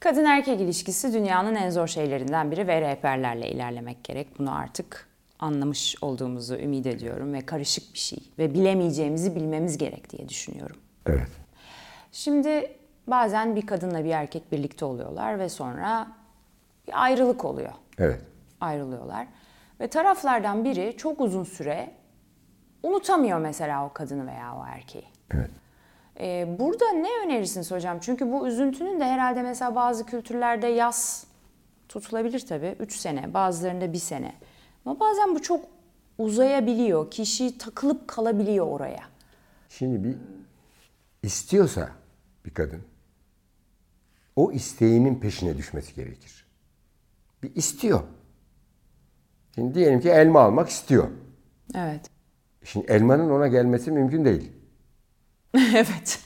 Kadın erkek ilişkisi dünyanın en zor şeylerinden biri ve rehberlerle ilerlemek gerek. Bunu artık anlamış olduğumuzu ümit ediyorum ve karışık bir şey ve bilemeyeceğimizi bilmemiz gerek diye düşünüyorum. Evet. Şimdi bazen bir kadınla bir erkek birlikte oluyorlar ve sonra bir ayrılık oluyor. Evet. Ayrılıyorlar ve taraflardan biri çok uzun süre unutamıyor mesela o kadını veya o erkeği. Evet. Ee, burada ne önerirsiniz hocam? Çünkü bu üzüntünün de herhalde mesela bazı kültürlerde yaz tutulabilir tabii. 3 sene, bazılarında 1 sene. Ama bazen bu çok uzayabiliyor. Kişi takılıp kalabiliyor oraya. Şimdi bir istiyorsa bir kadın o isteğinin peşine düşmesi gerekir. Bir istiyor. Şimdi diyelim ki elma almak istiyor. Evet. Şimdi elmanın ona gelmesi mümkün değil. evet.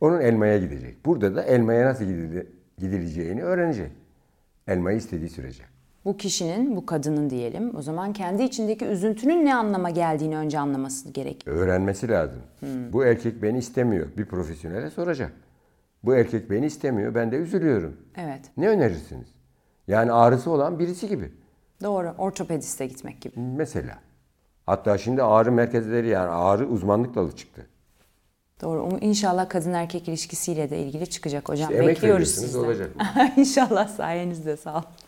Onun elmaya gidecek. Burada da elmaya nasıl gidile- gidileceğini öğrenecek. Elmayı istediği sürece. Bu kişinin, bu kadının diyelim o zaman kendi içindeki üzüntünün ne anlama geldiğini önce anlaması gerek. Öğrenmesi lazım. Hmm. Bu erkek beni istemiyor. Bir profesyonele soracak. Bu erkek beni istemiyor. Ben de üzülüyorum. Evet. Ne önerirsiniz? Yani ağrısı olan birisi gibi. Doğru. Ortopediste gitmek gibi. Mesela. Hatta şimdi ağrı merkezleri yani ağrı uzmanlık dalı çıktı. Doğru. Umu- İnşallah kadın erkek ilişkisiyle de ilgili çıkacak hocam. Emek Bekliyoruz veriyorsunuz sizden. olacak. İnşallah sayenizde sağ olun.